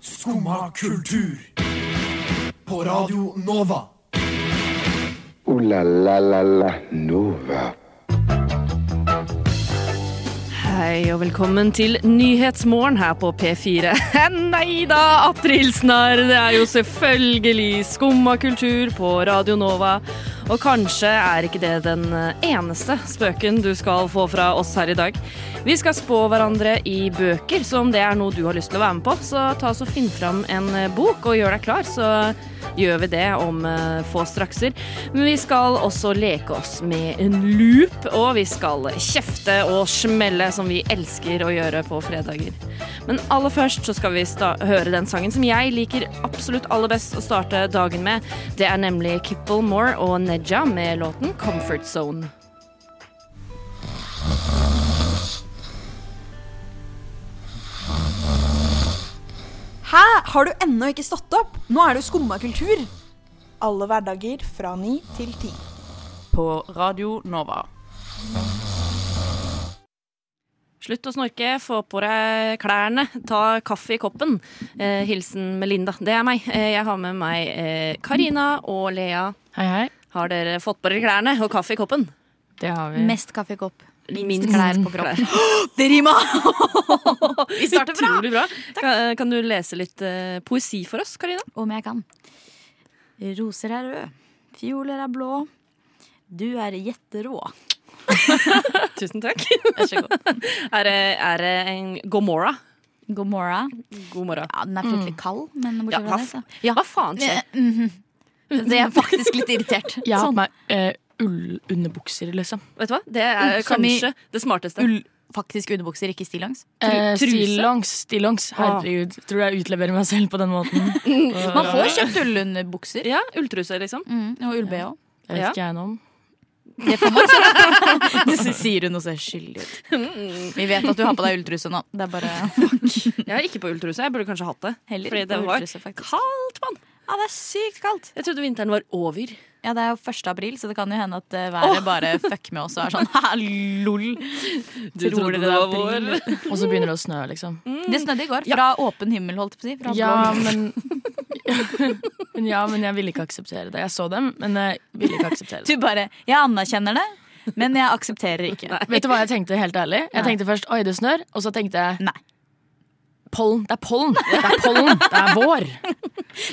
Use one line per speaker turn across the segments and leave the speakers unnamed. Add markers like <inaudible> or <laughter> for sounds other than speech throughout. Skumma kultur. På Radio Nova.
Ooh la la la la Nova.
Hei og velkommen til Nyhetsmorgen her på P4. <laughs> Nei da, aprilsnarr! Det er jo selvfølgelig skumma kultur på Radio Nova. Og kanskje er ikke det den eneste spøken du skal få fra oss her i dag. Vi skal spå hverandre i bøker, så om det er noe du har lyst til å være med på, så ta oss og finn fram en bok og gjør deg klar, så gjør vi det om eh, få strakser. Men vi skal også leke oss med en loop, og vi skal kjefte og smelle, som vi elsker å gjøre på fredager. Men aller først så skal vi sta høre den sangen som jeg liker absolutt aller best å starte dagen med. Det er nemlig Kipplemore og Neja med låten 'Comfort Zone'.
Hæ? Har du ennå ikke stått opp? Nå er det jo skumma kultur. Alle hverdager fra ni til ti.
på Radio Nova.
Slutt å snorke, få på deg klærne, ta kaffe i koppen. Eh, hilsen Melinda. Det er meg. Eh, jeg har med meg eh, Karina og Lea.
Hei, hei.
Har dere fått på dere klærne og kaffe i koppen?
Det har vi.
Mest kaffekopp.
Minst
klær på kroppen.
<laughs> klær.
Det rimer!
Vi starter bra! Kan, kan du lese litt eh, poesi for oss, Karina?
Om jeg kan. Roser er røde, fioler er blå. Du er gjetterå.
Tusen <laughs> takk.
Vær så god.
Er det er det en Gomorra?
God morgen. Mm.
God morgen.
Ja, den er fryktelig kald, men
Ja,
bortsett
hva,
fra det,
f-
så. Eh, mhm.
hva faen skjer?
<laughs> Det er faktisk litt irritert.
Jeg har
Sånn.
på meg eh, ullunderbukser, liksom.
Vet du hva? Det er
Som i-
kanskje det smarteste.
<laughs> Ull, faktisk underbukser, ikke stillongs.
Eh,
truse?
stillongs. stillongs. Herregud, tror jeg utleverer meg selv på den måten.
Man får kjøpt ullunderbukser.
Ja, ulltruse, liksom.
Mm, og ull-BH.
Jeg vet
Ja.
ikke jeg noe om.
Det får man kjøpt. <laughs> Mm. Det sier hun og ser skyldig ut. Vi vet at du har på deg ulltruse nå. Det er bare
Jeg er ikke på ulltruse. Jeg burde kanskje hatt det.
Heller
Fordi
ikke
det
på
var
ulltruse, faktisk.
kaldt, mann.
Ja, det er sykt kaldt.
Jeg trodde vinteren var over.
Ja, det er jo 1. april, så det kan jo hende at eh, været bare fuck med oss og er sånn <laughs> ha, lol.
Du
Tror
trodde
dere
det var
april?
vår.
Og så begynner det å snø, liksom.
Det snødde i går. Fra åpen himmel, holdt jeg på å si. Fra
Ja,
blå.
men <laughs> men Ja, men jeg ville ikke akseptere det. Jeg så dem, men jeg ville ikke akseptere
Du
det.
bare Jeg anerkjenner det, men jeg aksepterer <laughs> ikke.
Vet du hva jeg tenkte, helt ærlig? Jeg
Nei.
tenkte først oi, det snør, og så tenkte jeg
Nei.
pollen. Det er pollen! Det er pollen, det er vår!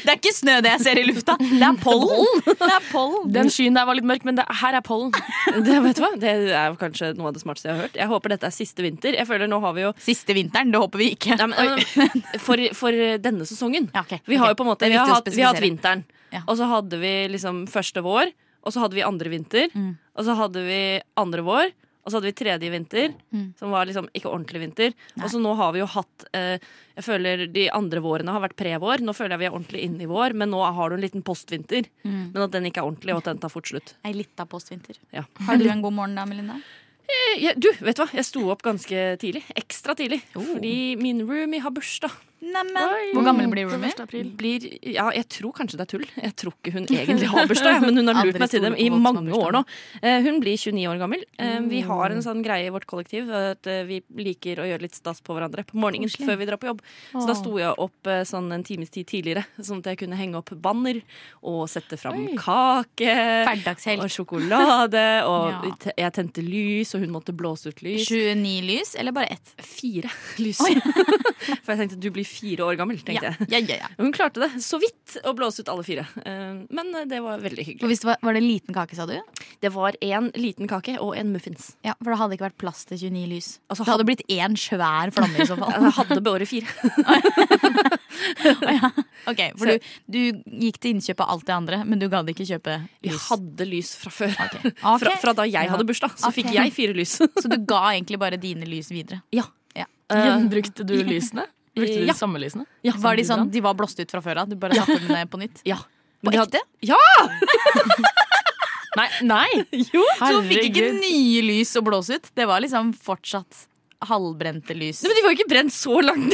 Det er ikke snø det jeg ser i lufta. Det er <laughs> pollen. Det er pollen.
Den skyen der var litt mørk, men det, her er pollen.
<laughs> Det, vet du hva? det er kanskje noe av det smarteste jeg har hørt. Jeg håper dette er siste vinter. Jeg føler nå har vi jo
Siste vinteren, det håper vi ikke.
Nei, men, men, for, for denne sesongen.
Ja, ok,
Vi
ok.
har jo på en måte
Det er
Vi har
viktig å
hatt, vi har hatt
spesifisere.
vinteren,
Ja.
og så hadde vi liksom første vår, og så hadde vi andre vinter, og så hadde vi andre vår. Og så hadde vi tredje vinter, som var liksom ikke ordentlig vinter. Og så nå har vi jo hatt eh, Jeg føler De andre vårene har vært pre-vår. Nå føler jeg vi er ordentlig inne i vår, men nå har du en liten postvinter. Men at den ikke er ordentlig, og at den tar fort slutt.
Ei lita postvinter.
Ja.
Har du en god morgen da, Melinda?
Eh, jeg- du, vet du hva? Jeg sto opp ganske tidlig. Ekstra tidlig.
Oh.
Fordi min roomie har bursdag.
Neimen. Hvor gammel blir Roomy?
Blir, ja, jeg tror kanskje det er tull. Jeg tror ikke hun egentlig har bursdag, men hun har lurt
Aldri
meg til
stoler
dem
på
i
folk som har
mange
bursdag. Mm.
år nå. Eh, Hun blir 29 år gammel. Eh, Vi har en sånn greie i vårt kollektiv at eh, vi liker å gjøre litt stas på hverandre på morgenen før vi drar på jobb. Så da sto jeg opp eh, sånn en times tid tidligere, sånn at jeg kunne henge opp banner og sette fram kake. Og
Hverdagshelt.
sjokolade, og
<laughs> Ja.
vi te- jeg tente lys, og hun måtte blåse ut lys.
29 lys, eller bare ett?
Fire <laughs> lys. For jeg tenkte du blir fire år gammel. tenkte
Ja,
jeg <laughs>
ja, ja. ja.
Hun klarte det så vidt å blåse ut alle fire. Eh, Men det var veldig
Og
hyggelig.
hvis det var, var det en liten kake, sa du?
Det var én liten kake og en muffins.
Ja, For det hadde ikke vært plass til 29 lys.
Altså,
det hadde blitt én svær flamme i så
<laughs>
fall.
Jeg hadde bare
<laughs>
fire.
Ok, For du, du gikk til innkjøp av alt det andre, men du gadd ikke kjøpe
Vi
lys.
hadde lys fra før.
Ok.
<laughs> Fra, fra da jeg
Ja.
hadde bursdag, så
Ok.
fikk jeg fire lys. <laughs>
Så du ga egentlig bare dine lys videre?
Ja.
Ja.
Eh,
Gjenbrukte du lysene? Brukte du
Ja.
de samme lysene?
var de, sånn, de var blåst ut fra før av? Du bare satte dem ned på nytt?
ja.
På
de hadde-
ekte?
Nei! nei. <laughs>
Jo!
Så du fikk ikke nye lys å blåse ut? Det var liksom fortsatt halvbrente lys.
Nei, men de var jo ikke brent så langt.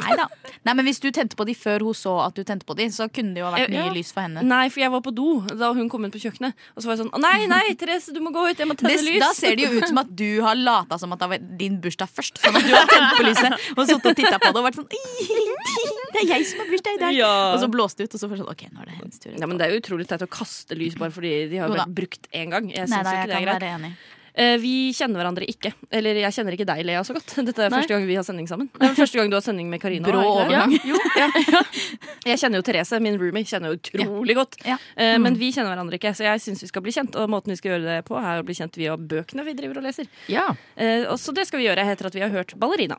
Nei da. Nei, men Hvis du tente på de før hun så at du tente på de, så kunne det jo ha vært mye
Ja.
lys for henne.
<laughs> Nei, for jeg var på do da hun kom inn på kjøkkenet. Og så var jeg sånn «Å, Nei, nei, Therese, du må gå ut. Jeg må tenne
Det,
lys.
da ser det jo ut som at du har lata som at det var din bursdag først. Sånn at du har tent på lyset og sittet og titta på det og vært sånn Det er jeg som har bursdag i dag!
Ja.
Og så blåste det ut, og så var det sånn OK, nå er det hennes tur.
<laughs> Ja, men Det er jo utrolig teit å kaste lys bare fordi de har jo
Jo da.
vært brukt én gang. Jeg
Nei
synes
da,
jo
jeg
ikke det
kan
er greit.
være enig.
Eh, Vi kjenner hverandre ikke. Eller jeg kjenner ikke deg, Lea, så godt. <laughs> Dette er
Nei.
første gang vi har sending sammen. Det er vel første gang du har sending med Karina.
Brå
er det ikke det?
overgang.
<laughs> Jeg kjenner jo Therese, min roomie, kjenner jo utrolig godt.
Ja.
Eh, Men vi kjenner hverandre ikke, så jeg syns vi skal bli kjent. Og måten vi skal gjøre det på, er å bli kjent via bøkene vi driver og leser.
Ja.
Eh, Og så det skal vi gjøre etter at vi har hørt Ballerina.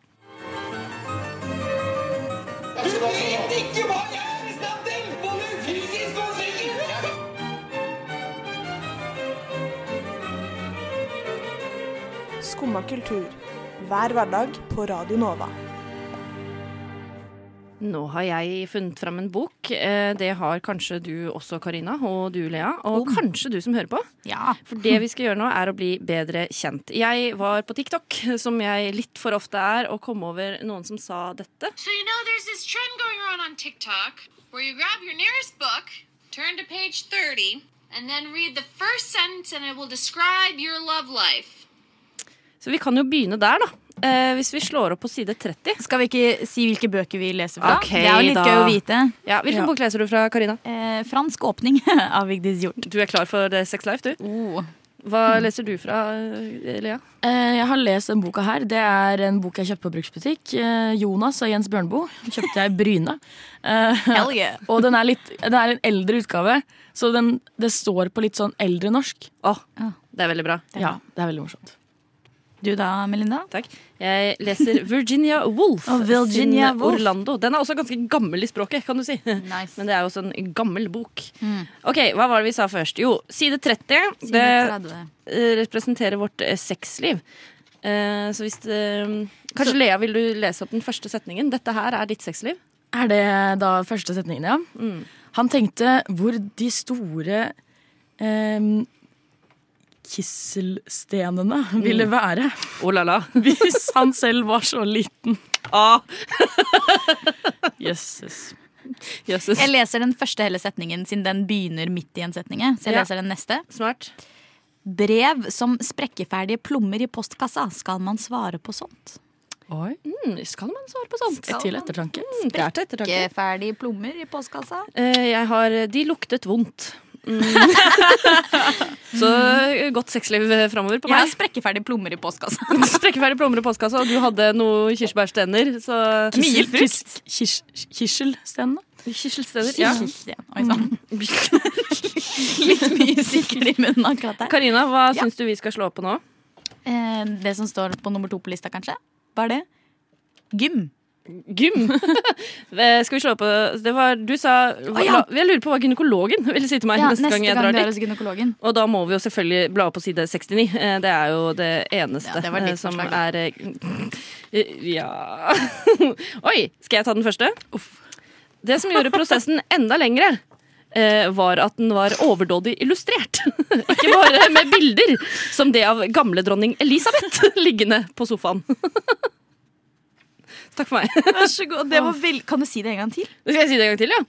Skumma kultur. Hver hverdag på Radio Nova.
Nå har jeg funnet fram en bok. Eh, Det har kanskje du også, Karina, og du, Lea. Og kanskje du som hører på.
Ja.
For det vi skal gjøre nå, er å bli bedre kjent. Jeg var på TikTok, som jeg litt for ofte er, og kom over noen som sa dette.
So, you know, there's this trend going around on TikTok where you grab your nearest book, turn to page 30, and then read the first sentence, and it will describe your love life.
Så vi kan jo begynne der, da. Eh, Hvis vi slår opp på side 30.
Skal vi ikke si hvilke bøker vi leser fra?
Ok,
det er jo litt
da.
gøy å vite.
Ja, Hvilken
Ja.
bok leser du fra, Karina?
Eh, fransk åpning av Vigdis Hjort.
Du er klar for eh, Sex Life, du.
Oh,
Hva
Mm.
leser du fra, eh, Lea?
Eh, Jeg har lest den boka her. Det er en bok jeg kjøpte på bruksbutikk. Eh, Jonas av Jens Bjørneboe. Kjøpte jeg i Bryne. Eh,
Hell yeah.
Og den er, litt, det er en eldre utgave, så den, det står på litt sånn eldre norsk.
Å,
Ah.
det er veldig bra.
Ja, det er veldig morsomt.
Du da, Melinda?
Takk. Jeg leser Virginia Woolf
Å, Virginia
sin
Woolf.
Orlando. Den er også ganske gammel i språket, kan du si.
Nice.
Men det er jo også en gammel bok. Ok, Hva var det vi sa først? Jo, Mm. side 30. det eh, representerer vårt eh, sexliv. Eh, så hvis eh, Kanskje Lea, vil du lese opp den første setningen? Dette her er ditt sexliv.
Er det da første setningen, ja?
Mm.
Han tenkte hvor de store eh, kisselstenene
Mm.
ville være
Oh la <laughs> la.
hvis han selv var så liten.
Ah,
Jøsses.
jøsses.
Jeg leser den første hele setningen, siden den begynner midt i en setning. jeg. Så jeg
Ja.
leser den neste.
Smart.
Brev som sprekkeferdige plommer i postkassa. Skal man svare på sånt?
Oi.
Mm, skal man svare på sånt?
Et til ettertanke.
Mm, det er til ettertanke.
Sprekkeferdige plommer i postkassa?
Eh, jeg har De luktet vondt.
<laughs>
Mm. så eh, godt sexliv framover på
Jeg har
meg. <laughs>
sprekkeferdige plommer i postkassa. <laughs>
Sprekkeferdig plommer i postkassa, og du hadde noe kirsebærstener. Så
Mye frukt.
Kis- kis- Kisselstenene.
Kirsebærstener,
Ja.
ja.
Oi sann. <laughs> Litt mye sikkert i munnen akkurat der.
Karina, hva
Ja.
syns du vi skal slå på nå?
Eh, Det som står på nummer to på lista, kanskje? Hva er det? Gym.
Gym. <laughs> Eh, Skal vi slå på det var, Du sa
Å, ja.
la- Jeg lurer på hva gynekologen <laughs> vil si til meg
Ja,
neste, gang jeg drar
du er
dit.
hos gynekologen.
Og da må vi jo selvfølgelig bla opp på side 69. Eh, Det er jo det eneste
Ja, det var ditt
eh, som
forslag,
er eh, <laughs> Ja Oi! Skal jeg ta den første? Det som gjorde
<laughs>
prosessen enda lengre, eh, var at den var overdådig illustrert. <laughs> Ikke bare med bilder, som det av gamle dronning Elisabeth <laughs> liggende på sofaen. <laughs> Takk for meg.
<laughs> Vær så god. Det var vel... Kan du si det
<laughs>
en gang til?
Nå skal jeg si det en gang til, ja.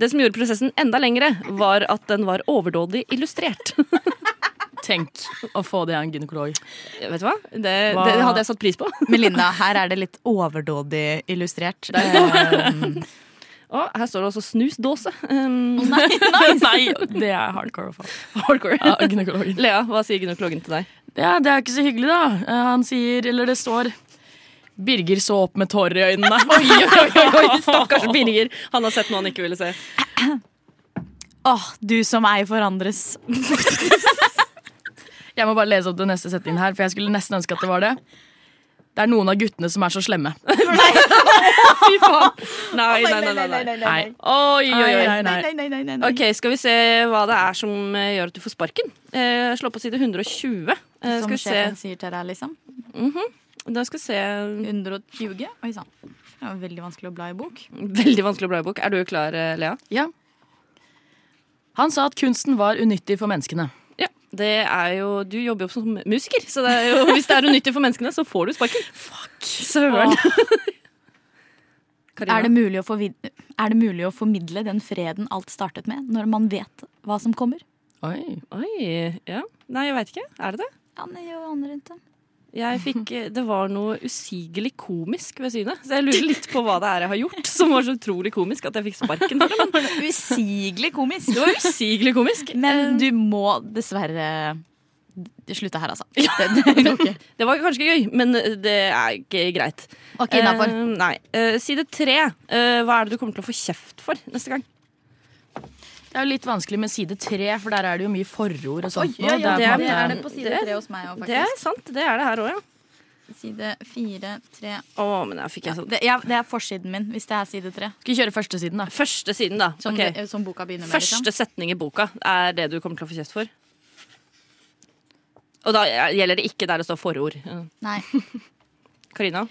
Det som gjorde prosessen enda lengre, var at den var overdådig illustrert.
Tenk å få det av en gynekolog.
Vet du hva? Det,
Hva?
det hadde jeg satt pris på.
Melinda, her er det litt overdådig illustrert.
Eh, Og her står det også snusdåse. Um, <laughs>
Nei, det er hardcore å få
hardcore.
av gynekologen.
Lea, hva sier gynekologen til deg? <laughs>
Ja, det er ikke så hyggelig, da. Eh, Han sier, eller det står Birger så opp med tårer i øynene. Oi, oi, oi,
Stakkars Birger. Han har sett noe han ikke ville se.
Åh, du som ei forandres.
Jeg må bare lese opp den neste setningen her, for jeg skulle nesten ønske at det var det. Det er noen av guttene som er så slemme.
Fy faen. Nei, nei, nei. nei, nei.
Nei,
Oi, oi, oi.
nei, nei.
nei, nei, nei, nei.
Ok, Skal vi se hva det er som eh, gjør at du får sparken. Eh, slå på side 120. Eh, skal
Sånn
Som
vi se.
sjefen sier til deg, liksom.
Da skal vi se.
120. Oi sann. Det var veldig vanskelig å bla i bok.
Veldig vanskelig å bla i bok. Er du klar, eh, Lea?
Ja. Han sa at kunsten var unyttig for menneskene.
Ja, det er jo, Du jobber jo som musiker, så det er jo, <laughs> hvis det er unyttig for menneskene, så får du sparken. Fuck! Søren. <laughs> Karina?
Er det, mulig å forvid- er det mulig å formidle den freden alt startet med, når man vet hva som kommer?
Oi.
Oi, ja. Nei, jeg veit ikke. Er det det?
Ja, nei, jeg aner ikke.
Jeg <laughs> fikk, det var noe usigelig komisk ved synet. Så jeg lurer litt på hva det er jeg har gjort som var så utrolig komisk at jeg fikk sparken. for det, men
Usigelig komisk. Eh,
Det var usigelig komisk.
Men du må dessverre slutte <laughs> her, altså. Det, det går ikke.
Det var kanskje ikke gøy, men det er ikke greit.
Ok, innafor.
Eh, nei. Eh, side tre. Eh, hva er det du kommer til å få kjeft for neste gang?
Det er jo litt vanskelig med side tre, for der er det jo mye forord og sånt. nå.
ja,
Det er
det
på en måte-
er
Eh,
det på side det- tre
hos meg
Det er sant. Det er det her òg, ja.
Side fire, tre
Å, men der fikk jeg sånn.
det, ja, det er forsiden min, hvis det er side tre.
Skal vi kjøre første siden, da?
Første siden, da.
Som,
Ok.
det- som boka begynner med. liksom.
Første setning i boka er det du kommer til å få kjeft for. Og da gjelder det ikke der det står forord. Eh,
Nei.
Karina?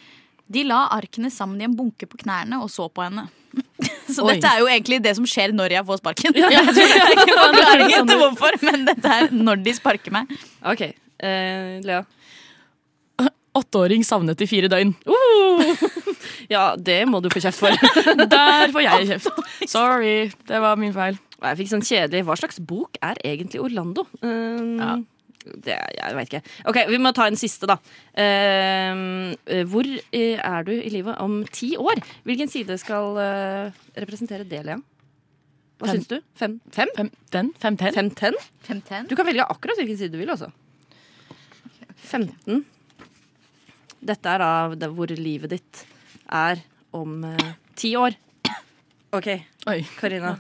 De la arkene sammen i en bunke på knærne og så på henne. <laughs> Så
Oi.
dette er jo egentlig det som skjer når jeg får <laughs> sparken.
Ja,
jeg tror det er ikke noen forklaring til hvorfor, men dette er når de sparker meg.
OK. Eh, Lea?
Åtteåring savnet i fire <laughs> døgn.
Uh! <laughs> Ja, det må du få kjeft for.
Der får jeg kjeft. Sorry, det var min feil.
Og Jeg fikk sånn kjedelig Hva slags bok er egentlig Orlando? Um, Det, jeg veit ikke. OK, vi må ta en siste, da. Um, eh, hvor eh, er du i livet om ti år? Hvilken side skal eh, representere det, Lea? Hva
Fem.
syns du? Fem? Fem?
Fem, den? Fem, ten?
Fem ten?
Femten?
Du kan velge akkurat hvilken side du vil, altså. 15. Dette er da det- hvor livet ditt er om eh, ti år. OK,
Oi.
Karina.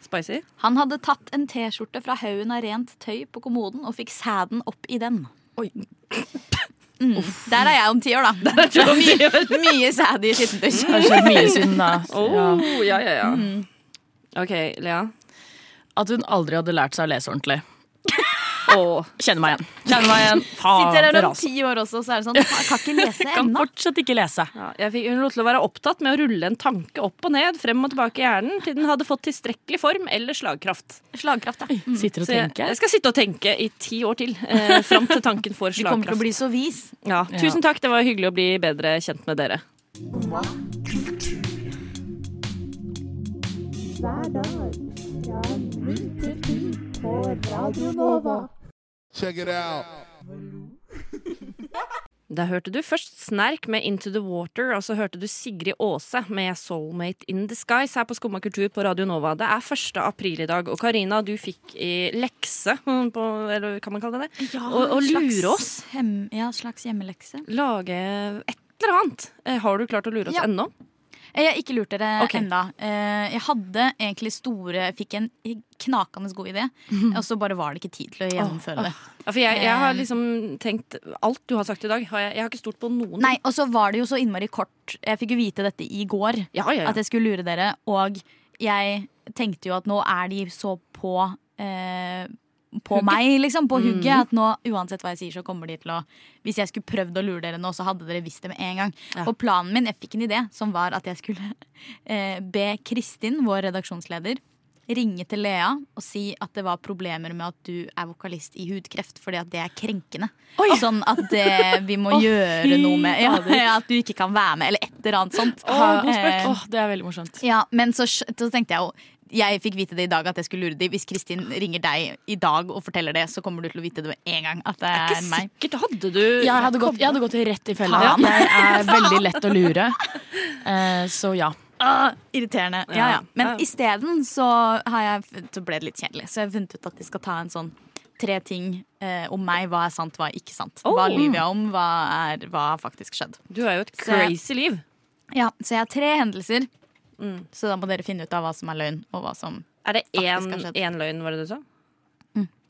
Spicy?
Han hadde tatt en T-skjorte fra haugen av rent tøy på kommoden og fikk sæden opp i den.
Oi.
Mm. <laughs> Der er jeg om ti år, da.
<laughs>
Mye, mye sæd i skittentøy.
Kanskje <laughs> mye synd, da.
Oh, ja, ja, ja.
Mm.
OK, Lea.
At hun aldri hadde lært seg å lese ordentlig.
Og
Kjenner meg igjen. Kjenner meg igjen. Faen,
Sitter der om
altså.
ti år også, så er det sånn Jeg kan ikke lese
Kan
ennå.
fortsatt ikke lese.
ja, jeg fikk hun lot til å være opptatt med å rulle en tanke opp og ned, frem og tilbake i hjernen, til den hadde fått tilstrekkelig form eller slagkraft.
Slagkraft, ja.
Sitter og
Så jeg, jeg
tenker.
skal sitte og tenke i ti år til, eh, fram til tanken
<laughs>
får
Du kommer til å
slagkraft.
bli så vis.
Ja, tusen takk, det var hyggelig å bli bedre kjent med dere.
Check it
<laughs>
out.
Der hørte du først Snerk med Into the Water, og så hørte du Sigrid Aase med Soulmate in Disguise her på Skumma kultur på Radio Nova. Det er 1. april i dag, og Karina, du fikk i lekse, <laughs> mm, på, eller kan man kalle det det?
Ja,
Og- og
slags
lure oss.
Hem, ja, slags hjemmelekse.
Lage et eller annet. Eh, Har du klart å lure oss
Ja.
ennå?
Eh, Jeg har ikke lurt dere
Ok.
enda. Eh, Jeg hadde egentlig store jeg Fikk en knakende god idé, og så bare var det ikke tid til å gjennomføre det.
Ja, for jeg, jeg har
Eh.
liksom tenkt Alt du har sagt i dag, har jeg, jeg har ikke stolt på noen.
Nei, Og så var det jo så innmari kort. Jeg fikk jo vite dette i går,
Ja, ja,
at
ja.
jeg skulle lure dere. Og jeg tenkte jo at nå er de så på eh, på meg,
Mm.
liksom. På hugget. At nå, uansett hva jeg sier, så kommer de til å Hvis jeg skulle prøvd å lure dere nå, så hadde dere visst det med en gang.
Ja.
Og planen min, jeg fikk en idé, som var at jeg skulle <laughs> eh, be Kristin, vår redaksjonsleder, ringe til Lea og si at det var problemer med at du er vokalist i hudkreft, fordi at det er krenkende. Sånn at det, vi må gjøre noe med <laughs> ja, At du ikke kan være med, eller et eller annet sånt. Eh,
Åh, det er veldig morsomt.
ja, men så, skj- så tenkte jeg jo jeg fikk vite det i dag at jeg skulle lure dem. Hvis Kristin ringer deg i dag og forteller det, så kommer du til å vite det med en gang. At det
Ikke
er meg.
sikkert hadde du
Jeg hadde gått, jeg hadde gått rett i fella.
Faen.
Jeg <laughs> er veldig lett å lure. Eh, Så ja.
Ah, irriterende. Ja, ja.
Ja,
Men
ja.
isteden så, har jeg fun- så ble det litt kjedelig. Så jeg har funnet ut at de skal ta en sånn tre ting eh, om meg. Hva er sant, hva er ikke sant. Hva
Oh.
lyver jeg om, hva er hva har faktisk skjedd.
Du har jo et
Så-
crazy liv.
Ja, Så jeg har tre hendelser.
Mm.
Så da må dere finne ut av hva som er løgn, og hva som
Er det
Faktisk har skjedd.
én løgn, var det du sa?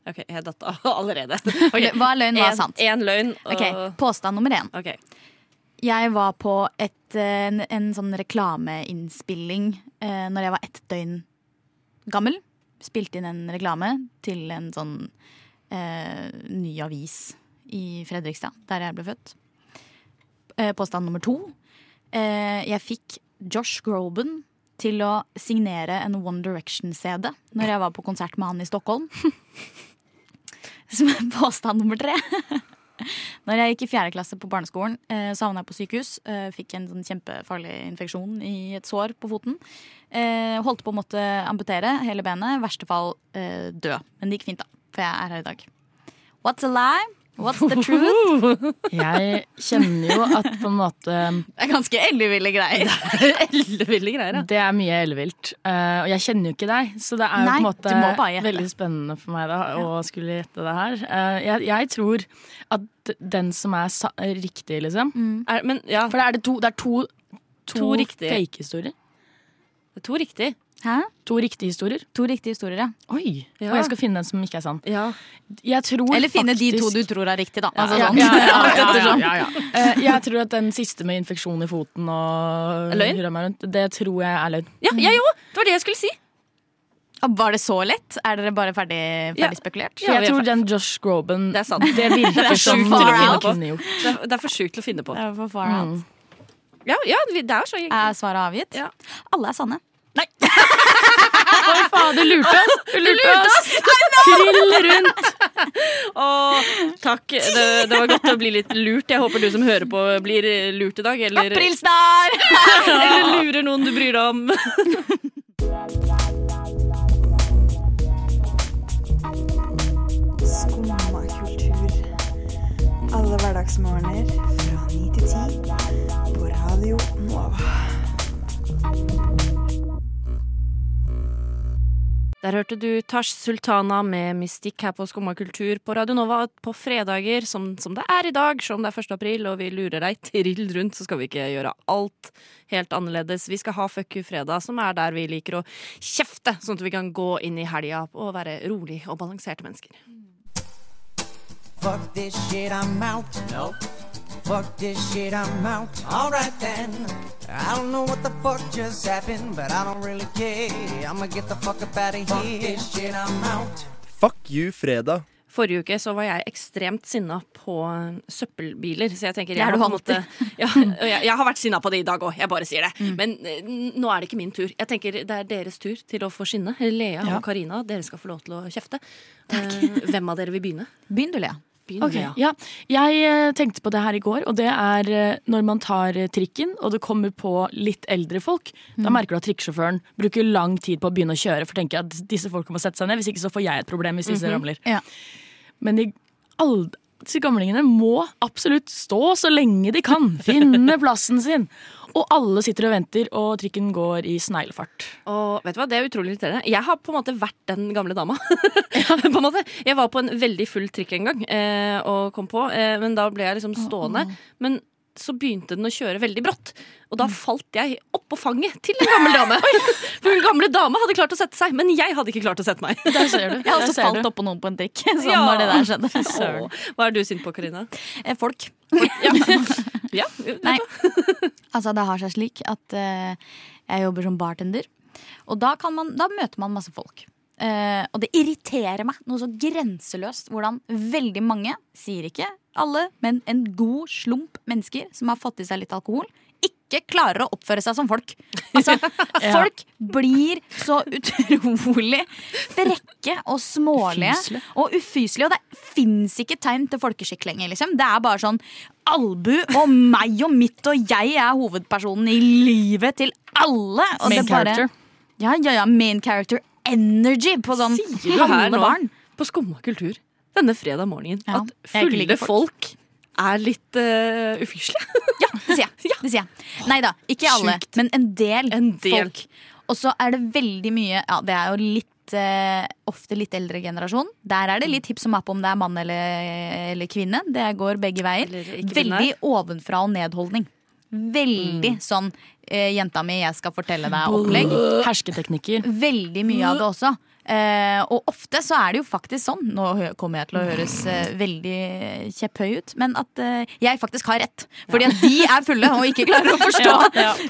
OK, jeg datt av <laughs> allerede. Ok,
Hva er
en-
løgn, hva er sant?
en løgn og
Ok, Påstand nummer én.
OK.
Jeg var på et, eh, en, en sånn reklameinnspilling eh, når jeg var ett døgn gammel. Spilte inn en reklame til en sånn eh, ny avis i Fredrikstad, der jeg ble født. Eh, påstand nummer to. Eh, jeg fikk Josh Groban til å signere en One Direction-CD når <laughs> jeg var på konsert med han i Stockholm. Som er påstand nummer tre. Når jeg gikk i fjerde klasse på barneskolen, eh, så havna jeg på sykehus. Eh, fikk en sånn kjempefarlig infeksjon i et sår på foten. Eh, holdt på å måtte amputere hele benet. I verste fall eh, dø. Men det gikk fint, da. For jeg er her i dag. What's a lie? What's the truth?
<laughs>
Jeg kjenner jo at på en måte
Det er ganske elleville greier.
Elleville greier, ja.
Det er mye ellevilt. Eh, og jeg kjenner jo ikke deg, så det er jo
Nei,
på en
du må bare
måte
gjette.
veldig spennende for meg da, å skulle gjette det her. Eh, jeg, jeg tror at den som er sa riktig, liksom
Er, men ja,
For det er, det to, det er to, to,
To riktige.
fake historier.
to riktig.
Hæ?
To riktige historier.
To riktige historier, ja.
Oi!
Ja.
Og jeg skal finne den som ikke er sann.
Ja.
Jeg tror
Eller finne de to
faktisk-
du tror er riktig, da. Altså,
Ja,
sånn.
ja,
Alt
ja, ja, ja,
ettersom.
ja, ja. Eh, <laughs> Jeg tror at den siste med infeksjon i foten og
Løgn?
hurra meg rundt, det tror jeg er løgn.
ja, jeg òg! Det var det jeg skulle si.
<laughs> Var det så lett? Er dere bare ferdig,
Ja.
ferdig spekulert?
Ja, vi
jeg
er
tror
fe-
den Josh Groban
Det er sant.
<laughs> Det virker
er
som
sjukt
til å
noe han
finne
på.
kunne gjort.
Det er, det er for sjukt til å finne på.
Det er for far out.
Ja, ja vi- det er så egentlig.
Er svaret avgitt?
Mm. Ja.
Alle er sanne.
Oi, faen, du lurte oss! <laughs> Du lurte oss! Krill rundt!
Åh, takk. Det, det var godt å bli litt lurt. Jeg håper du som hører på, blir lurt i dag. Eller,
Aprilsnarr!
<laughs> eller lurer noen du bryr deg om.
Skumma kultur. Alle hverdagsmorgener fra ni til ti på Radio Nova.
Der hørte du Tash Sultana med Mystikk her på Skumma kultur på Radio Nova på fredager, som, som det er i dag, som det er 1. april, og vi lurer deg trill rundt, så skal vi ikke gjøre alt helt annerledes. Vi skal ha Fuck you fredag, som er der vi liker å kjefte, sånn at vi kan gå inn i helga og være rolig og balanserte mennesker.
Fuck this shit, I'm out. No. Fuck this shit, I'm out. Alright then. I don't know what the fuck just happened, but I don't really care. I'ma get the fuck up out of here. Fuck this shit, I'm out.
Fuck you, fredag.
Forrige uke så var jeg ekstremt sinna på eh, søppelbiler. Så jeg tenker
er
jeg,
du
har på en måte, <laughs> ja, og jeg, jeg har vært sinna på det i dag òg, jeg bare sier det. Men eh, n- nå er det ikke min tur. Jeg tenker Det er deres tur til å få skinne. Lea
Ja.
og Karina, dere skal få lov til å kjefte. Eh, hvem av dere vil begynne?
Begynn du, Lea.
Begynn,
Ok,
Lea.
ja. Jeg eh, tenkte på det her i går, og det er eh, når man tar eh, trikken og det kommer på litt eldre folk, da merker du at trikkesjåføren bruker lang tid på å begynne å kjøre, for tenker jeg at disse folk må sette seg ned, hvis ikke så får jeg et problem hvis disse ramler.
Ja.
Men de, all, disse gamlingene må absolutt stå så lenge de kan, finne plassen sin. Og alle sitter og venter, og trikken går i sneglefart.
Og vet du hva, det er utrolig irriterende. Jeg har på en måte vært den gamle dama. <laughs> på en måte. Jeg var på en veldig full trikk en gang eh, og kom på, eh, men da ble jeg liksom stående. Men så begynte den å kjøre veldig brått, og
Mm.
da falt jeg oppå fanget til en gammel
<laughs>
dame. For hun gamle dame hadde klart å sette seg, men jeg hadde ikke klart å sette meg. <laughs>
Der ser du.
Jeg har
der
også
<laughs> ser
falt
du.
oppå noen på en trikk. <laughs> Sånn
Ja.
når det der
<laughs>
skjedde.
Åh, Hva er du sint på, Karina?
Eh, Folk.
Ja, vet du
Nei.
hva?
Altså, det har seg slik at eh, jeg jobber som bartender. Og da, kan man, da møter man masse folk. Eh, og det irriterer meg noe så grenseløst hvordan veldig mange, sier ikke alle, men en god slump mennesker som har fått i seg litt alkohol, ikke klarer å oppføre seg som folk. Altså, Folk blir så utrolig frekke og smålige
Ufyselige.
og ufyselige. Og det fins ikke tegn til folkeskikk lenger. Liksom. Det er bare sånn albu og meg og mitt og jeg er hovedpersonen i livet til alle. Og
Main
det bare,
character.
Ja, ja, ja, main character energy på sånn
Sier du her
halve
nå,
barn.
på Skumma kultur, denne fredag morgenen,
Ja,
at
jeg ikke liker
fulle folk er litt eh, ufyselige?
Ja, det sier jeg. Det sier jeg. Nei da, ikke alle,
Sjukt.
men en del,
En del.
folk. Og så er det veldig mye Ja, det er jo litt eh, ofte litt eldre generasjon. Der er det litt hipp som happ om det er mann eller, eller kvinne. Det går begge veier.
Eller ikke
Veldig ovenfra og nedholdning.
Mm.
Veldig sånn eh, 'jenta mi, jeg skal fortelle deg'-opplegg.
Hersketeknikker.
Veldig mye av det også. Eh, og ofte så er det jo faktisk sånn, nå hø- kommer jeg til å høres eh, veldig kjepphøy ut, men at eh, jeg faktisk har rett. Fordi at de er fulle og ikke klarer å forstå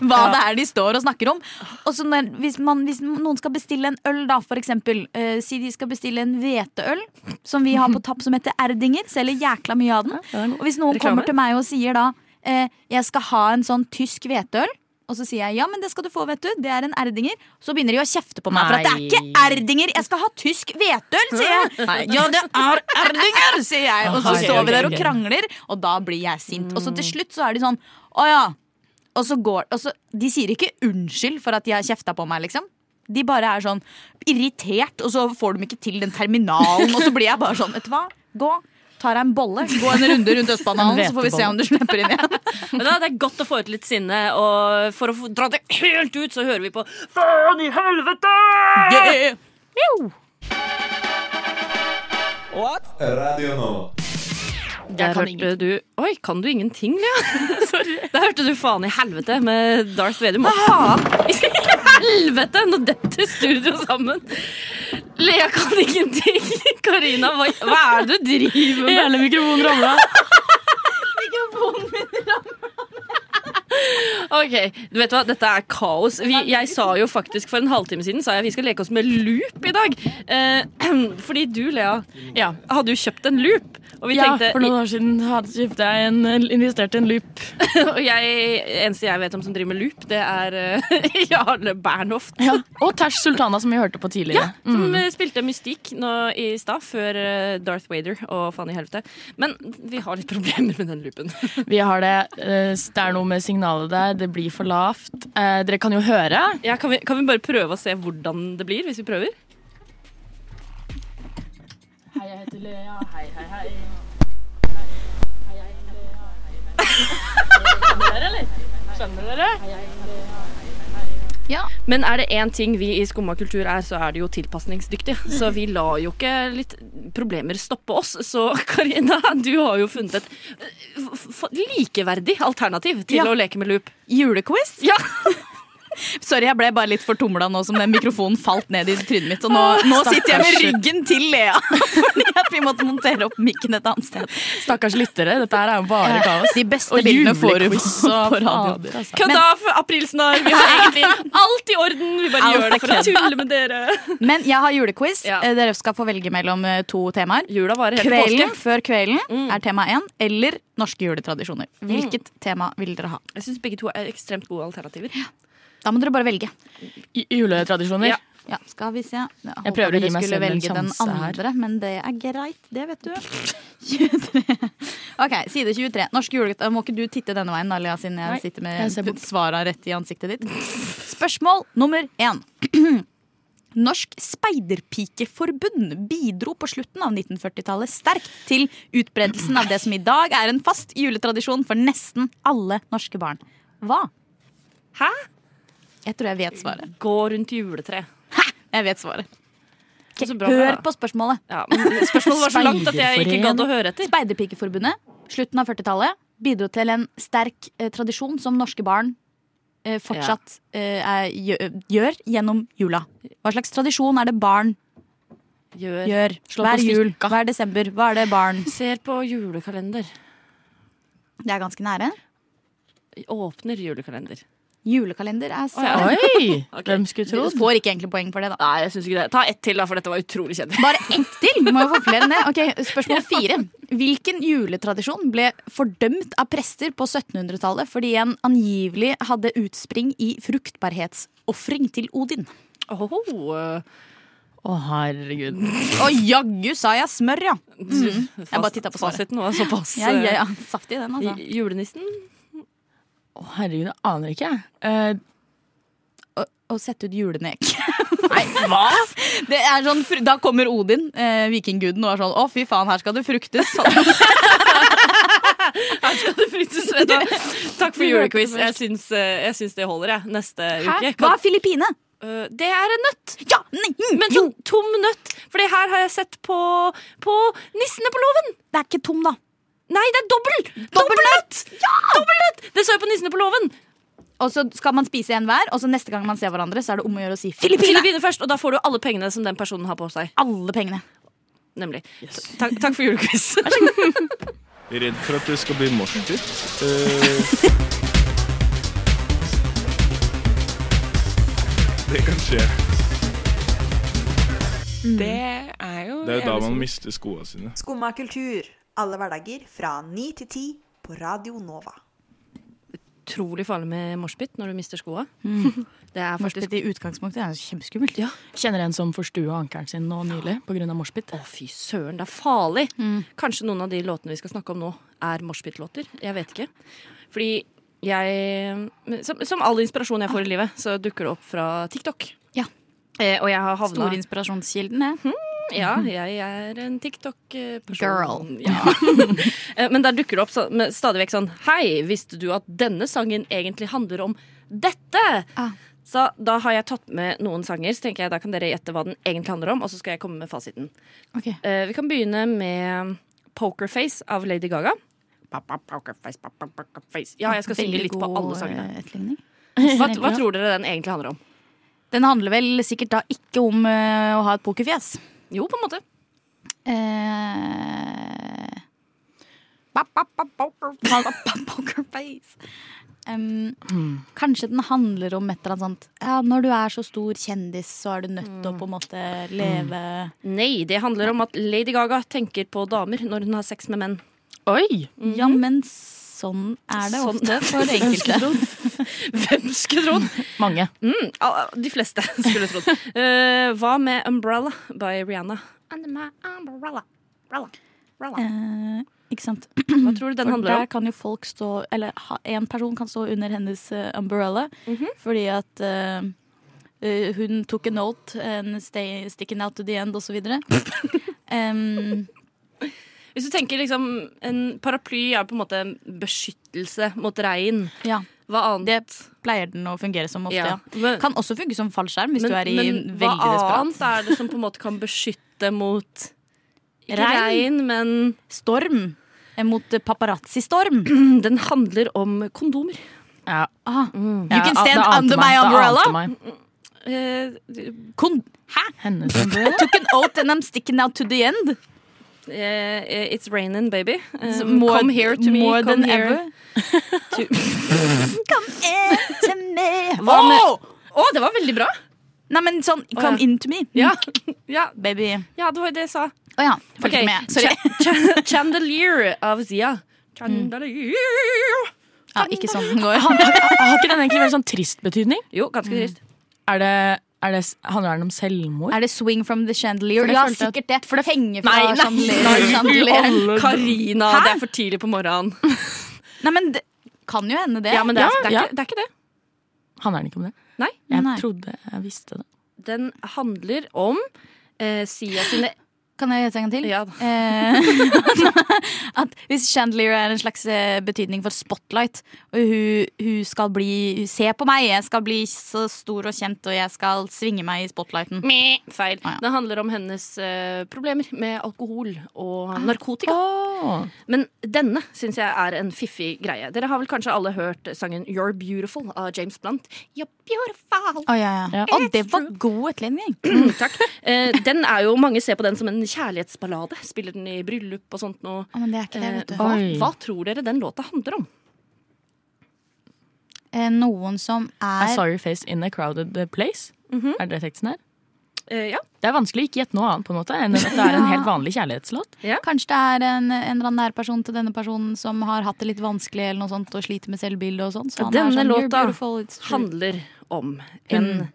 hva det er de står og snakker om. Og så når, hvis, man, hvis noen skal bestille en øl, da, for eksempel. Eh, si de skal bestille en hveteøl, som vi har på tapp som heter Erdinger. Selger jækla mye av den. Og hvis noen
Reklame.
kommer til meg og sier da eh, jeg skal ha en sånn tysk hveteøl, Og så sier jeg ja, men det skal du få, vet du. Det er en erdinger. Så begynner de å kjefte på meg for at det er
Nei.
ikke erdinger. Jeg skal ha tysk hvetøl, sier <laughs> jeg. Ja, det er erdinger, sier jeg. Og så
Ok,
står
ok,
vi der og
ok.
krangler, og da blir jeg sint. Og så til slutt så er de sånn å ja. Og så går og så, De sier ikke unnskyld for at de har kjefta på meg, liksom. De bare er sånn irritert, og så får de ikke til den terminalen. Og så blir jeg bare sånn, vet du hva, gå. Tar deg en bolle, gå en runde <laughs> rundt Østbanehallen, så får vi se om du slipper inn <laughs> igjen.
Men da, det er godt å få ut litt sinne, og for å få- dra det helt ut, så hører vi på Faen i helvete! Der
Jeg kan
hørte du Oi, kan du ingenting, Lea? <laughs> Sorry. Ah! Der hørte du Faen i helvete med Darth Vader. Må faen i helvete! Nå detter studio sammen. Lea kan ingenting. <laughs> Karina, hva, hva er det du driver med?
Hele mikrofonen ramla.
Ok, du vet hva, dette er kaos. Vi, jeg sa jo faktisk for en halvtime siden sa jeg vi skal leke oss med loop i dag. Eh, <clears throat> fordi du, Lea,
Ja.
hadde jo kjøpt en loop. Og vi
ja,
tenkte
for noen år siden hadde kjøpte jeg en, eh, investerte i en loop.
Og jeg, eneste jeg vet om som driver med loop, det er eh, <laughs> Jarle Bernhoft.
Og Tash Sultana, som vi hørte på tidligere.
Som eh, spilte mystikk nå i stad, før eh, Darth Vader og faen i helvete. Men vi har litt problemer med den loopen.
<laughs> Vi har det. eh, Det er noe med signalet der. Det blir for lavt. Eh, Dere kan jo høre.
Ja, kan, vi, kan vi bare prøve å se hvordan det blir, hvis vi prøver?
Hei, jeg heter Lea. Hei, hei, hei. Skjønner dere?
Men er det én ting vi i Skumma kultur er, så er det jo tilpasningsdyktige. Så vi lar jo ikke litt problemer stoppe oss. Så Karina, du har jo funnet et eh, f- f- likeverdig alternativ til
Ja.
å leke med loop.
Julequiz?
Ja.
<laughs> Sorry, jeg ble bare litt fortumla nå som den mikrofonen falt ned i trynet mitt. Og nå, nå sitter jeg med ryggen til Lea <laughs> fordi at vi måtte montere opp mikken et annet sted.
Stakkars lyttere. Dette her er jo bare kaos.
De beste
Og
bildene får du på,
julequiz og
på radio.
fader, altså.
Kødda, for aprilsnarr! Vi har egentlig <laughs> alt i orden. Vi bare
Alt
gjør det
er
for å
kødd.
<laughs> tulle med dere.
Men jeg har julequiz.
Ja.
Eh, Dere skal få velge mellom eh, to temaer.
Jula varer helt til
Kvelden
påske.
før kvelden er tema én, eller norske juletradisjoner. Hvilket tema vil dere ha?
Jeg syns begge to er ekstremt gode alternativer.
Da må dere bare velge.
Ju- Juletradisjoner.
Ja.
Ja, skal vi se. Jeg, håpet
prøver å gi
dere
meg
skulle
selv en
velge den
sjanse her.
andre, men det er greit, det vet du. 23. <laughs> Ok, side 23. Norske julegutter. Må ikke du titte denne veien, da, Lea, siden jeg
Nei,
sitter
jeg ser
med
bort.
svara rett i ansiktet ditt. Spørsmål nummer én. <clears throat> Norsk speiderpikeforbund bidro på slutten av 1940-tallet sterkt til utbredelsen av det som i dag er en fast juletradisjon for nesten alle norske barn. Hva?
Hæ?
Jeg tror jeg vet svaret.
Gå rundt juletreet.
Jeg vet svaret.
Så bra med
Hør
det.
på spørsmålet.
Ja, men spørsmålet var så langt at jeg ikke gadd å høre etter.
Speiderpikeforbundet, slutten av 40-tallet, bidro til en sterk eh, tradisjon som norske barn eh, fortsatt eh, er, gjø- gjør gjennom jula. Hva slags tradisjon er det barn
Gjør.
gjør
på
hver jul, hver desember? Hva er det barn
Ser på julekalender.
Det er ganske nære.
Åpner julekalender.
Julekalender er
Å, ja.
sant.
<laughs> Oi!
<laughs>
<laughs>
Ok.
Hvem skulle
Du
trodd?
får ikke egentlig poeng for det, da.
Nei, jeg synes ikke det. Ta ett til, da, for dette var utrolig kjedelig.
Bare ett til! Må jo få flere enn det. Ok, Spørsmål fire. Hvilken juletradisjon ble fordømt av prester på 1700-tallet fordi en angivelig hadde utspring i fruktbarhetsofring til Odin?
Å, herregud.
Å jaggu sa jeg smør, ja!
Jeg
bare tittet på svaret.
Fasiten var såpass
ja, ja, ja. Saftig den,
Mm. eh, i-
altså.
Julenissen?
Å, herregud, jeg aner ikke. Eh,
Å, å sette ut
<laughs>
julenek.
hva?
Det er sånn, fru- da kommer Odin, eh, vikingguden, og er sånn Å, fy faen, her skal det
<laughs>
fruktes. Sånn.
Her skal det fryses, vet <laughs> du. Takk for julequiz. Jeg syns, eh, jeg syns det holder, jeg. Neste
Hæ?
uke.
Hva
Kan,
er Filippine?
Eh, det er en nøtt!
Ja! Nei! mm,
Men
jo!
sånn tom nøtt. For det her har jeg sett på, på Nissene på låven.
Det er ikke tom, da.
Nei, det er dobbel! Dobbelnøtt! Ja! Dobbelnøtt! Det så jeg på Nissene på låven.
Og så skal man spise en hver, og så neste gang man ser hverandre, så er det om å gjøre å si Filippine!
Filippine først, og da får du alle pengene som den personen har på seg.
Alle pengene.
Nemlig. Ta- Takk, takk for julequiz.
Redd for at det skal bli Eh, morsdytt. det kan skje.
Mm.
Det er jo da man mister skoene sine.
Skumma kultur. Alle hverdager fra 9 til 10 på Radio Nova.
utrolig farlig med moshpit når du mister skoa.
Mm.
<laughs> Det er faktisk
Moshpit i utgangspunktet er kjempeskummelt.
Ja.
Kjenner en som forstua ankelen sin nå nylig pga. moshpit.
Å, fy søren, det er farlig!
Mm.
Kanskje noen av de låtene vi skal snakke om nå, er moshpit-låter. Jeg vet ikke. Fordi jeg som, som all inspirasjon jeg får i livet, så dukker det opp fra TikTok.
Ah. Ja.
Eh, og jeg har havna
Store inspirasjonskilden, det.
Ja, jeg er en TikTok-person.
Girl.
Ja.
<laughs>
Eh, Men der dukker det opp så- med stadig vekk sånn Hei, visste du at denne sangen egentlig handler om dette?
Ah.
Så da har jeg tatt med noen sanger, så tenker jeg da kan dere gjette hva den egentlig handler om, og så skal jeg komme med fasiten.
Ok.
Eh, Vi kan begynne med Pokerface av Lady Gaga. Pa, pa, Pokerface, pa, pa, pokerface. Ja, jeg skal synge
Veldig
litt på
god,
alle sangene. <laughs>
eh, Etterligning.
Hva,
Veldig
hva
bra.
tror dere den egentlig handler om?
Den handler vel sikkert da ikke om eh, å ha et pokerfjes.
Jo, på en måte.
Eh, ba, ba, ba, poker- ba, ba, ba, Pokerface. Em, Kanskje den handler om et eller annet sånt ja, Når du er så stor kjendis, så er du nødt til å på en måte leve
Nei, det handler om at Lady Gaga tenker på damer når hun har sex med menn.
Oi!
Ja, men sånn er det
Mm-hmm. Sånn-
ofte
<laughs>
for enkelte.
<laughs> Hvem skulle trodd?
Mange.
Mm, <laughs> al- de fleste <laughs> skulle trodd. Eh, hva med 'Umbrella' by Rihanna? Under my umbrella. Umbrella. Umbrella.
Eh, ikke sant?
Hva tror du den
For
handler om?
Der kan jo folk stå Eller ha- en person kan stå under hennes eh, umbrella
Mm-hmm.
Fordi at eh, eh, hun tok en note En stay, sticking out to the end og så
<laughs>
videre Em,
Hvis du tenker liksom, En paraply er på en måte en beskyttelse mot regn.
Ja,
Hva annet?
det pleier den å fungere som ofte ja.
Men,
Kan også funke som fallskjerm hvis du er i
men hva
veldig desperat
annet er det som på en måte kan beskytte
<laughs>
mot ikke
Regn?
regn, men <clears throat>
Storm Eh, Mot eh, paparazzi-storm
Den handler om kondomer.
Ja.
ah,
Ja,
Mm.
You can
ah, det
stand
ante
under
meg,
my
det ante
umbrella
meg.
Eh,
Kon Hæ? <laughs>
Hennes
I
umbrella?
took an oath and I'm sticking out to the end
eh, it's raining, baby. Eh,
So more-
come here to me.
more
come
than
here. <laughs>
ever.
to-
<laughs> Come into me.
Hva med-
Åh!
Å, det var veldig bra!
Nei, men sånn
ja.
Come into me,
<laughs>
Mm.
Ja, ja,
baby.
ja det var jo det jeg sa. <laughs>
Å ja. Følg
Ok,
ikke med. Sorry.
Cha- <laughs> cha- Chandelier av Zia. Chandelier.
Ja, ikke sånn den
<laughs>
går.
Har ikke den egentlig veldig sånn trist betydning?
Jo, ganske
Mm.
trist.
Er det, er det, handler den om selvmord?
Er det swing from the chandelier?
For jeg
Ja,
følte at-
sikkert det. For det henger fra
Nei, nei,
chandelier.
nei,
chandelier.
Alle-
Karina,
Hæ?
det er for tidlig på morgenen.
Nei, men det kan jo hende det.
Ja, men det er, det er,
ja.
Ikke, det er ikke det.
Handler den ikke om det?
Nei.
Jeg
Nei.
trodde jeg visste det.
Den handler om eh, Sia sine
Kan jeg gjette en gang til?
<laughs> Ja.
Eh, <laughs> at hvis chandelier er en slags eh, betydning for spotlight, og hun, hun skal bli hun, Se på meg, jeg skal bli så stor og kjent, og jeg skal svinge meg i spotlighten.
Meh, Feil.
Ah, ja.
Den handler om hennes eh, problemer med alkohol og narkotika.
Åh.
Men denne syns jeg er en fiffig greie. Dere har vel kanskje alle hørt sangen You're Beautiful av James Blunt? You're beautiful.
Å, ja, ja.
Ja.
Å, det var god etterligning.
Takk. Eh, den er jo, Mange ser på den som en kjærlighetsballade. Spiller den i bryllup og sånt noe.
Å, men det er ikke det,
Eh,
vet du.
hva,
Oi.
hva tror dere den låta handler om?
Eh, Noen som
I
er Mhm.
saw your face in a crowded uh, place. Er det teksten her?
Eh, ja.
Det er vanskelig å ikke gjette noe annet på en måte enn at
<laughs>
det er en helt vanlig kjærlighetslåt.
Kanskje det er en, en eller annen nærperson til denne personen som har hatt det litt vanskelig eller noe sånt, og sliter med selvbilde og sånn. Så han
Denne
er sånn, "You're
låta
beautiful, it's true."
Handler om en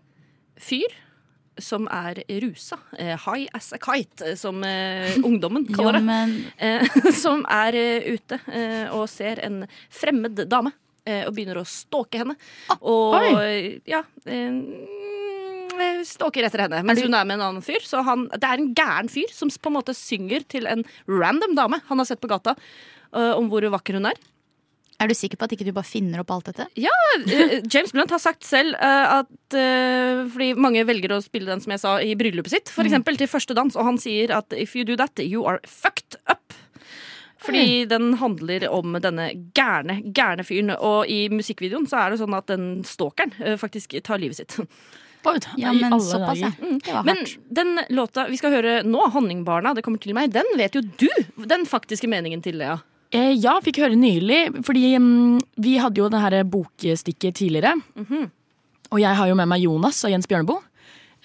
fyr som er rusa. Eh, high as a kite, eh, som eh, ungdommen
jo,
kaller det.
men,
Eh, <laughs> som er eh, ute eh, og ser en fremmed dame. eh, Og begynner å stalke henne. og ja eh, mm, Stalker etter henne. Mens hun er med en annen fyr. Så han, det er en gæren fyr som på en måte synger til en random dame han har sett på gata. eh, om hvor vakker hun er.
er du sikker på at ikke du bare finner opp alt dette?
Eh, James Blunt har sagt selv eh, at eh, Fordi mange velger å spille den som jeg sa i bryllupet sitt, f.eks. eksempel til første dans, og han sier at if you do that, you are fucked up. Fordi den handler om denne gærne, gærne fyren. Og i musikkvideoen så er det sånn at den stalkeren eh, faktisk tar livet sitt.
Ja,
I
men
alle
såpass, ja.
dager.
Mm, det var
Men
hardt.
den låta vi skal høre nå, 'Honningbarna', det kommer til meg, den vet jo du den faktiske meningen til, Lea.
Eh, ja, fikk høre nylig, fordi mm, vi hadde jo det her bokstikket tidligere.
Mhm.
Og jeg har jo med meg Jonas av Jens Bjørneboe.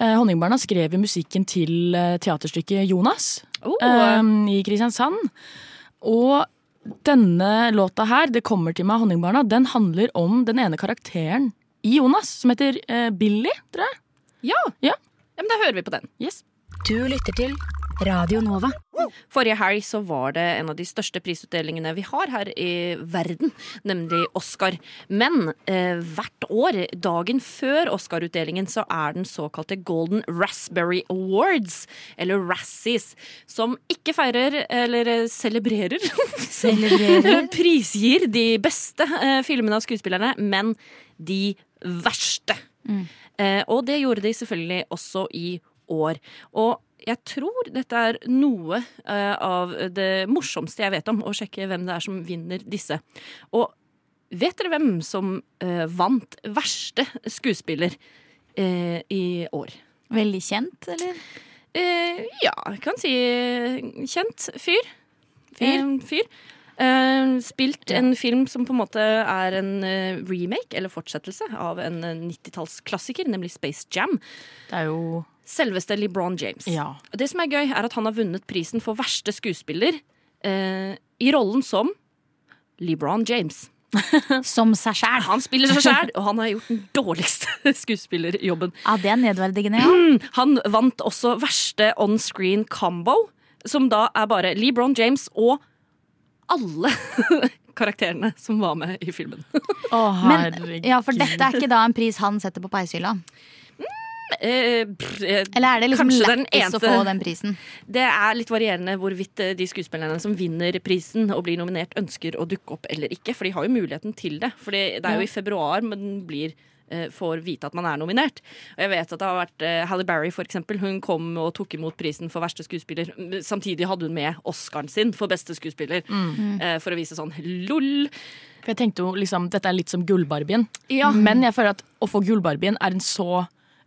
Eh, Honningbarna skrev jo musikken til eh, teaterstykket Jonas
Oh.
eh, i Kristiansand. Og denne låta her, 'Det kommer til meg, Honningbarna', den handler om den ene karakteren i Jonas, som heter eh, Billy, tror jeg.
Ja. men da hører vi på den.
Du lytter til Radio Nova.
Forrige helg så var det en av de største prisutdelingene vi har her i verden, nemlig Oscar. Men eh, hvert år, dagen før Oscar-utdelingen, så er den såkalte Golden Raspberry Awards, eller Razzies, som ikke feirer eller eh, celebrerer <laughs>
Celebrerer.
Prisgir de beste eh, filmene av skuespillerne, men de verste. Eh, og det gjorde de selvfølgelig også i år. Og jeg tror dette er noe eh, av det morsomste jeg vet om, å sjekke hvem det er som vinner disse. Og vet dere hvem som eh, vant verste skuespiller eh, i år?
Veldig kjent, eller?
Eh, ja, jeg kan si eh, kjent fyr.
Fyr.
En fyr. Eh, spilt en film som på en måte er en eh, remake eller fortsettelse av en eh, 90-tallsklassiker, nemlig Space Jam.
Det er jo
Selveste LeBron James.
Ja.
Og Det som er gøy, er at han har vunnet prisen for verste skuespiller eh, i rollen som LeBron James.
Som seg sjæl.
Han spiller seg <laughs> sjæl, og han har gjort den dårligste <laughs> skuespillerjobben.
Ja, det er nedverdigende, ja.
Mm, Han vant også verste on screen combo, som da er bare LeBron James og alle <laughs> karakterene som var med i filmen.
Å,
Men,
herregud.
ja, for dette er ikke da en pris han setter på peishylla.
Eh, pff, eh,
Eller er det liksom
Kanskje den
lættis å
eneste-
få den prisen?
Det er litt varierende hvorvidt eh, de skuespillerne som vinner prisen og blir nominert, ønsker å dukke opp eller ikke. For de har jo muligheten til det. For det er jo i februar man blir, eh, får vite at man er nominert. Og jeg vet at det har vært eh, Halle Berry, for eksempel. Hun kom og tok imot prisen for verste skuespiller. Samtidig hadde hun med Oscaren sin for beste skuespiller. eh, For å vise sånn lol.
For jeg tenkte jo liksom, Dette er litt som Gullbarbien, men jeg føler at å få Gullbarbien er en så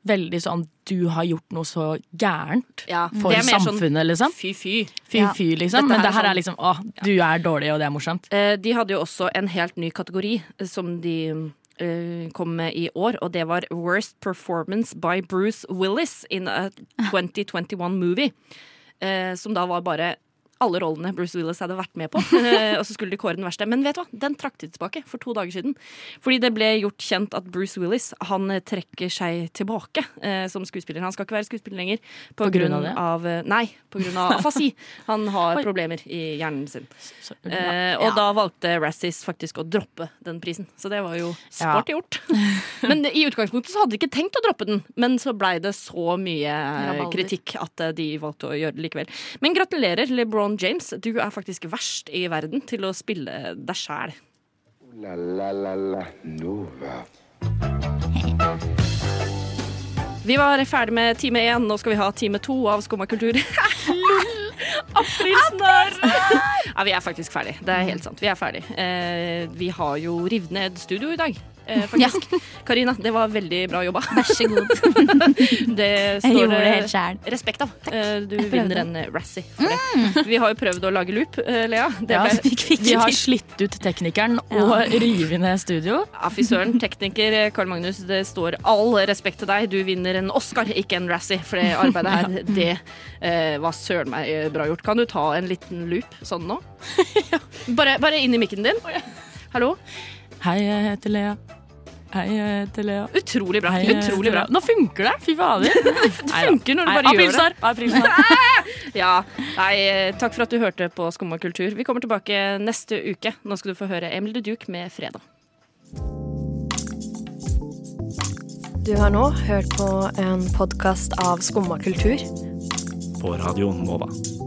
veldig sånn Du har gjort noe så gærent for
det er mer sånn
samfunnet, liksom.
fy-fy.
Ja.
Fy-fy, liksom.
Dette
Men
er
det her
sånn-
er liksom Å, du er dårlig, og det er morsomt.
Eh, De hadde jo også en helt ny kategori eh, som de eh, kom med i år, og det var Worst Performance by Bruce Willis in a 2021 movie. Eh, Som da var bare alle rollene Bruce Willis hadde vært med på. <laughs> eh, Og så skulle de kåre den verste. Men vet du hva? den trakk de tilbake for to dager siden. Fordi det ble gjort kjent at Bruce Willis han eh, trekker seg tilbake eh, som skuespiller. Han skal ikke være skuespiller lenger. På,
På grunn av det?
av eh, Nei, på grunn
<laughs>
av afasi. Han har
Oi.
problemer i hjernen sin.
Så,
Eh, og da valgte Razzies faktisk å droppe den prisen, så det var jo smart gjort. <laughs> men i utgangspunktet så hadde de ikke tenkt å droppe den, men så blei det så mye eh,
Rabalder.
kritikk at eh, de valgte å gjøre det likevel. Men gratulerer, LeBron James. Du er faktisk verst i verden til å spille deg sjæl.
La la la la Nova.
Vi var ferdig med time én, nå skal vi ha time to av Skumma kultur. <laughs> Aprilsnarr! ja, vi er faktisk ferdig. Det er helt sant. Vi er ferdig. Eh, vi har jo revet ned studio i dag. Eh, faktisk. Karina, det var veldig bra jobba. Vær så god. <laughs> det
Jeg
står
gjorde det
eh,
helt sjæl.
respekt av. Eh, du
Jeg prøvde.
vinner en eh, Razzie for det. Vi har jo prøvd å lage loop, eh, Lea. Det
Ja,
ble-
<laughs> vi har slitt ut teknikeren og revet ned studio.
ja, fy søren. Tekniker eh, Karl Magnus, det står all respekt til deg. Du vinner en Oscar, ikke en Razzie, for det arbeidet
<laughs>
her, det eh, var søren meg eh, bra gjort. Kan du ta en liten loop sånn
<laughs>
nå? bare, bare inn i mikken din. Hallo?
Hei, jeg heter Lea. Hei, jeg heter Lea.
Utrolig bra.
Hei, jeg heter
Utrolig bra.
Lea. Nå funker det! Fy <laughs> fader. Det
funker når du bare gjør det.
Aprilsnarr.
Ja. Nei, eh, takk for at du hørte på Skumma kultur. Vi kommer tilbake neste uke. Nå skal du få høre Emil de Duke med Fredag.
Du har nå hørt på en podkast av Skumma kultur.
På Radio Nova.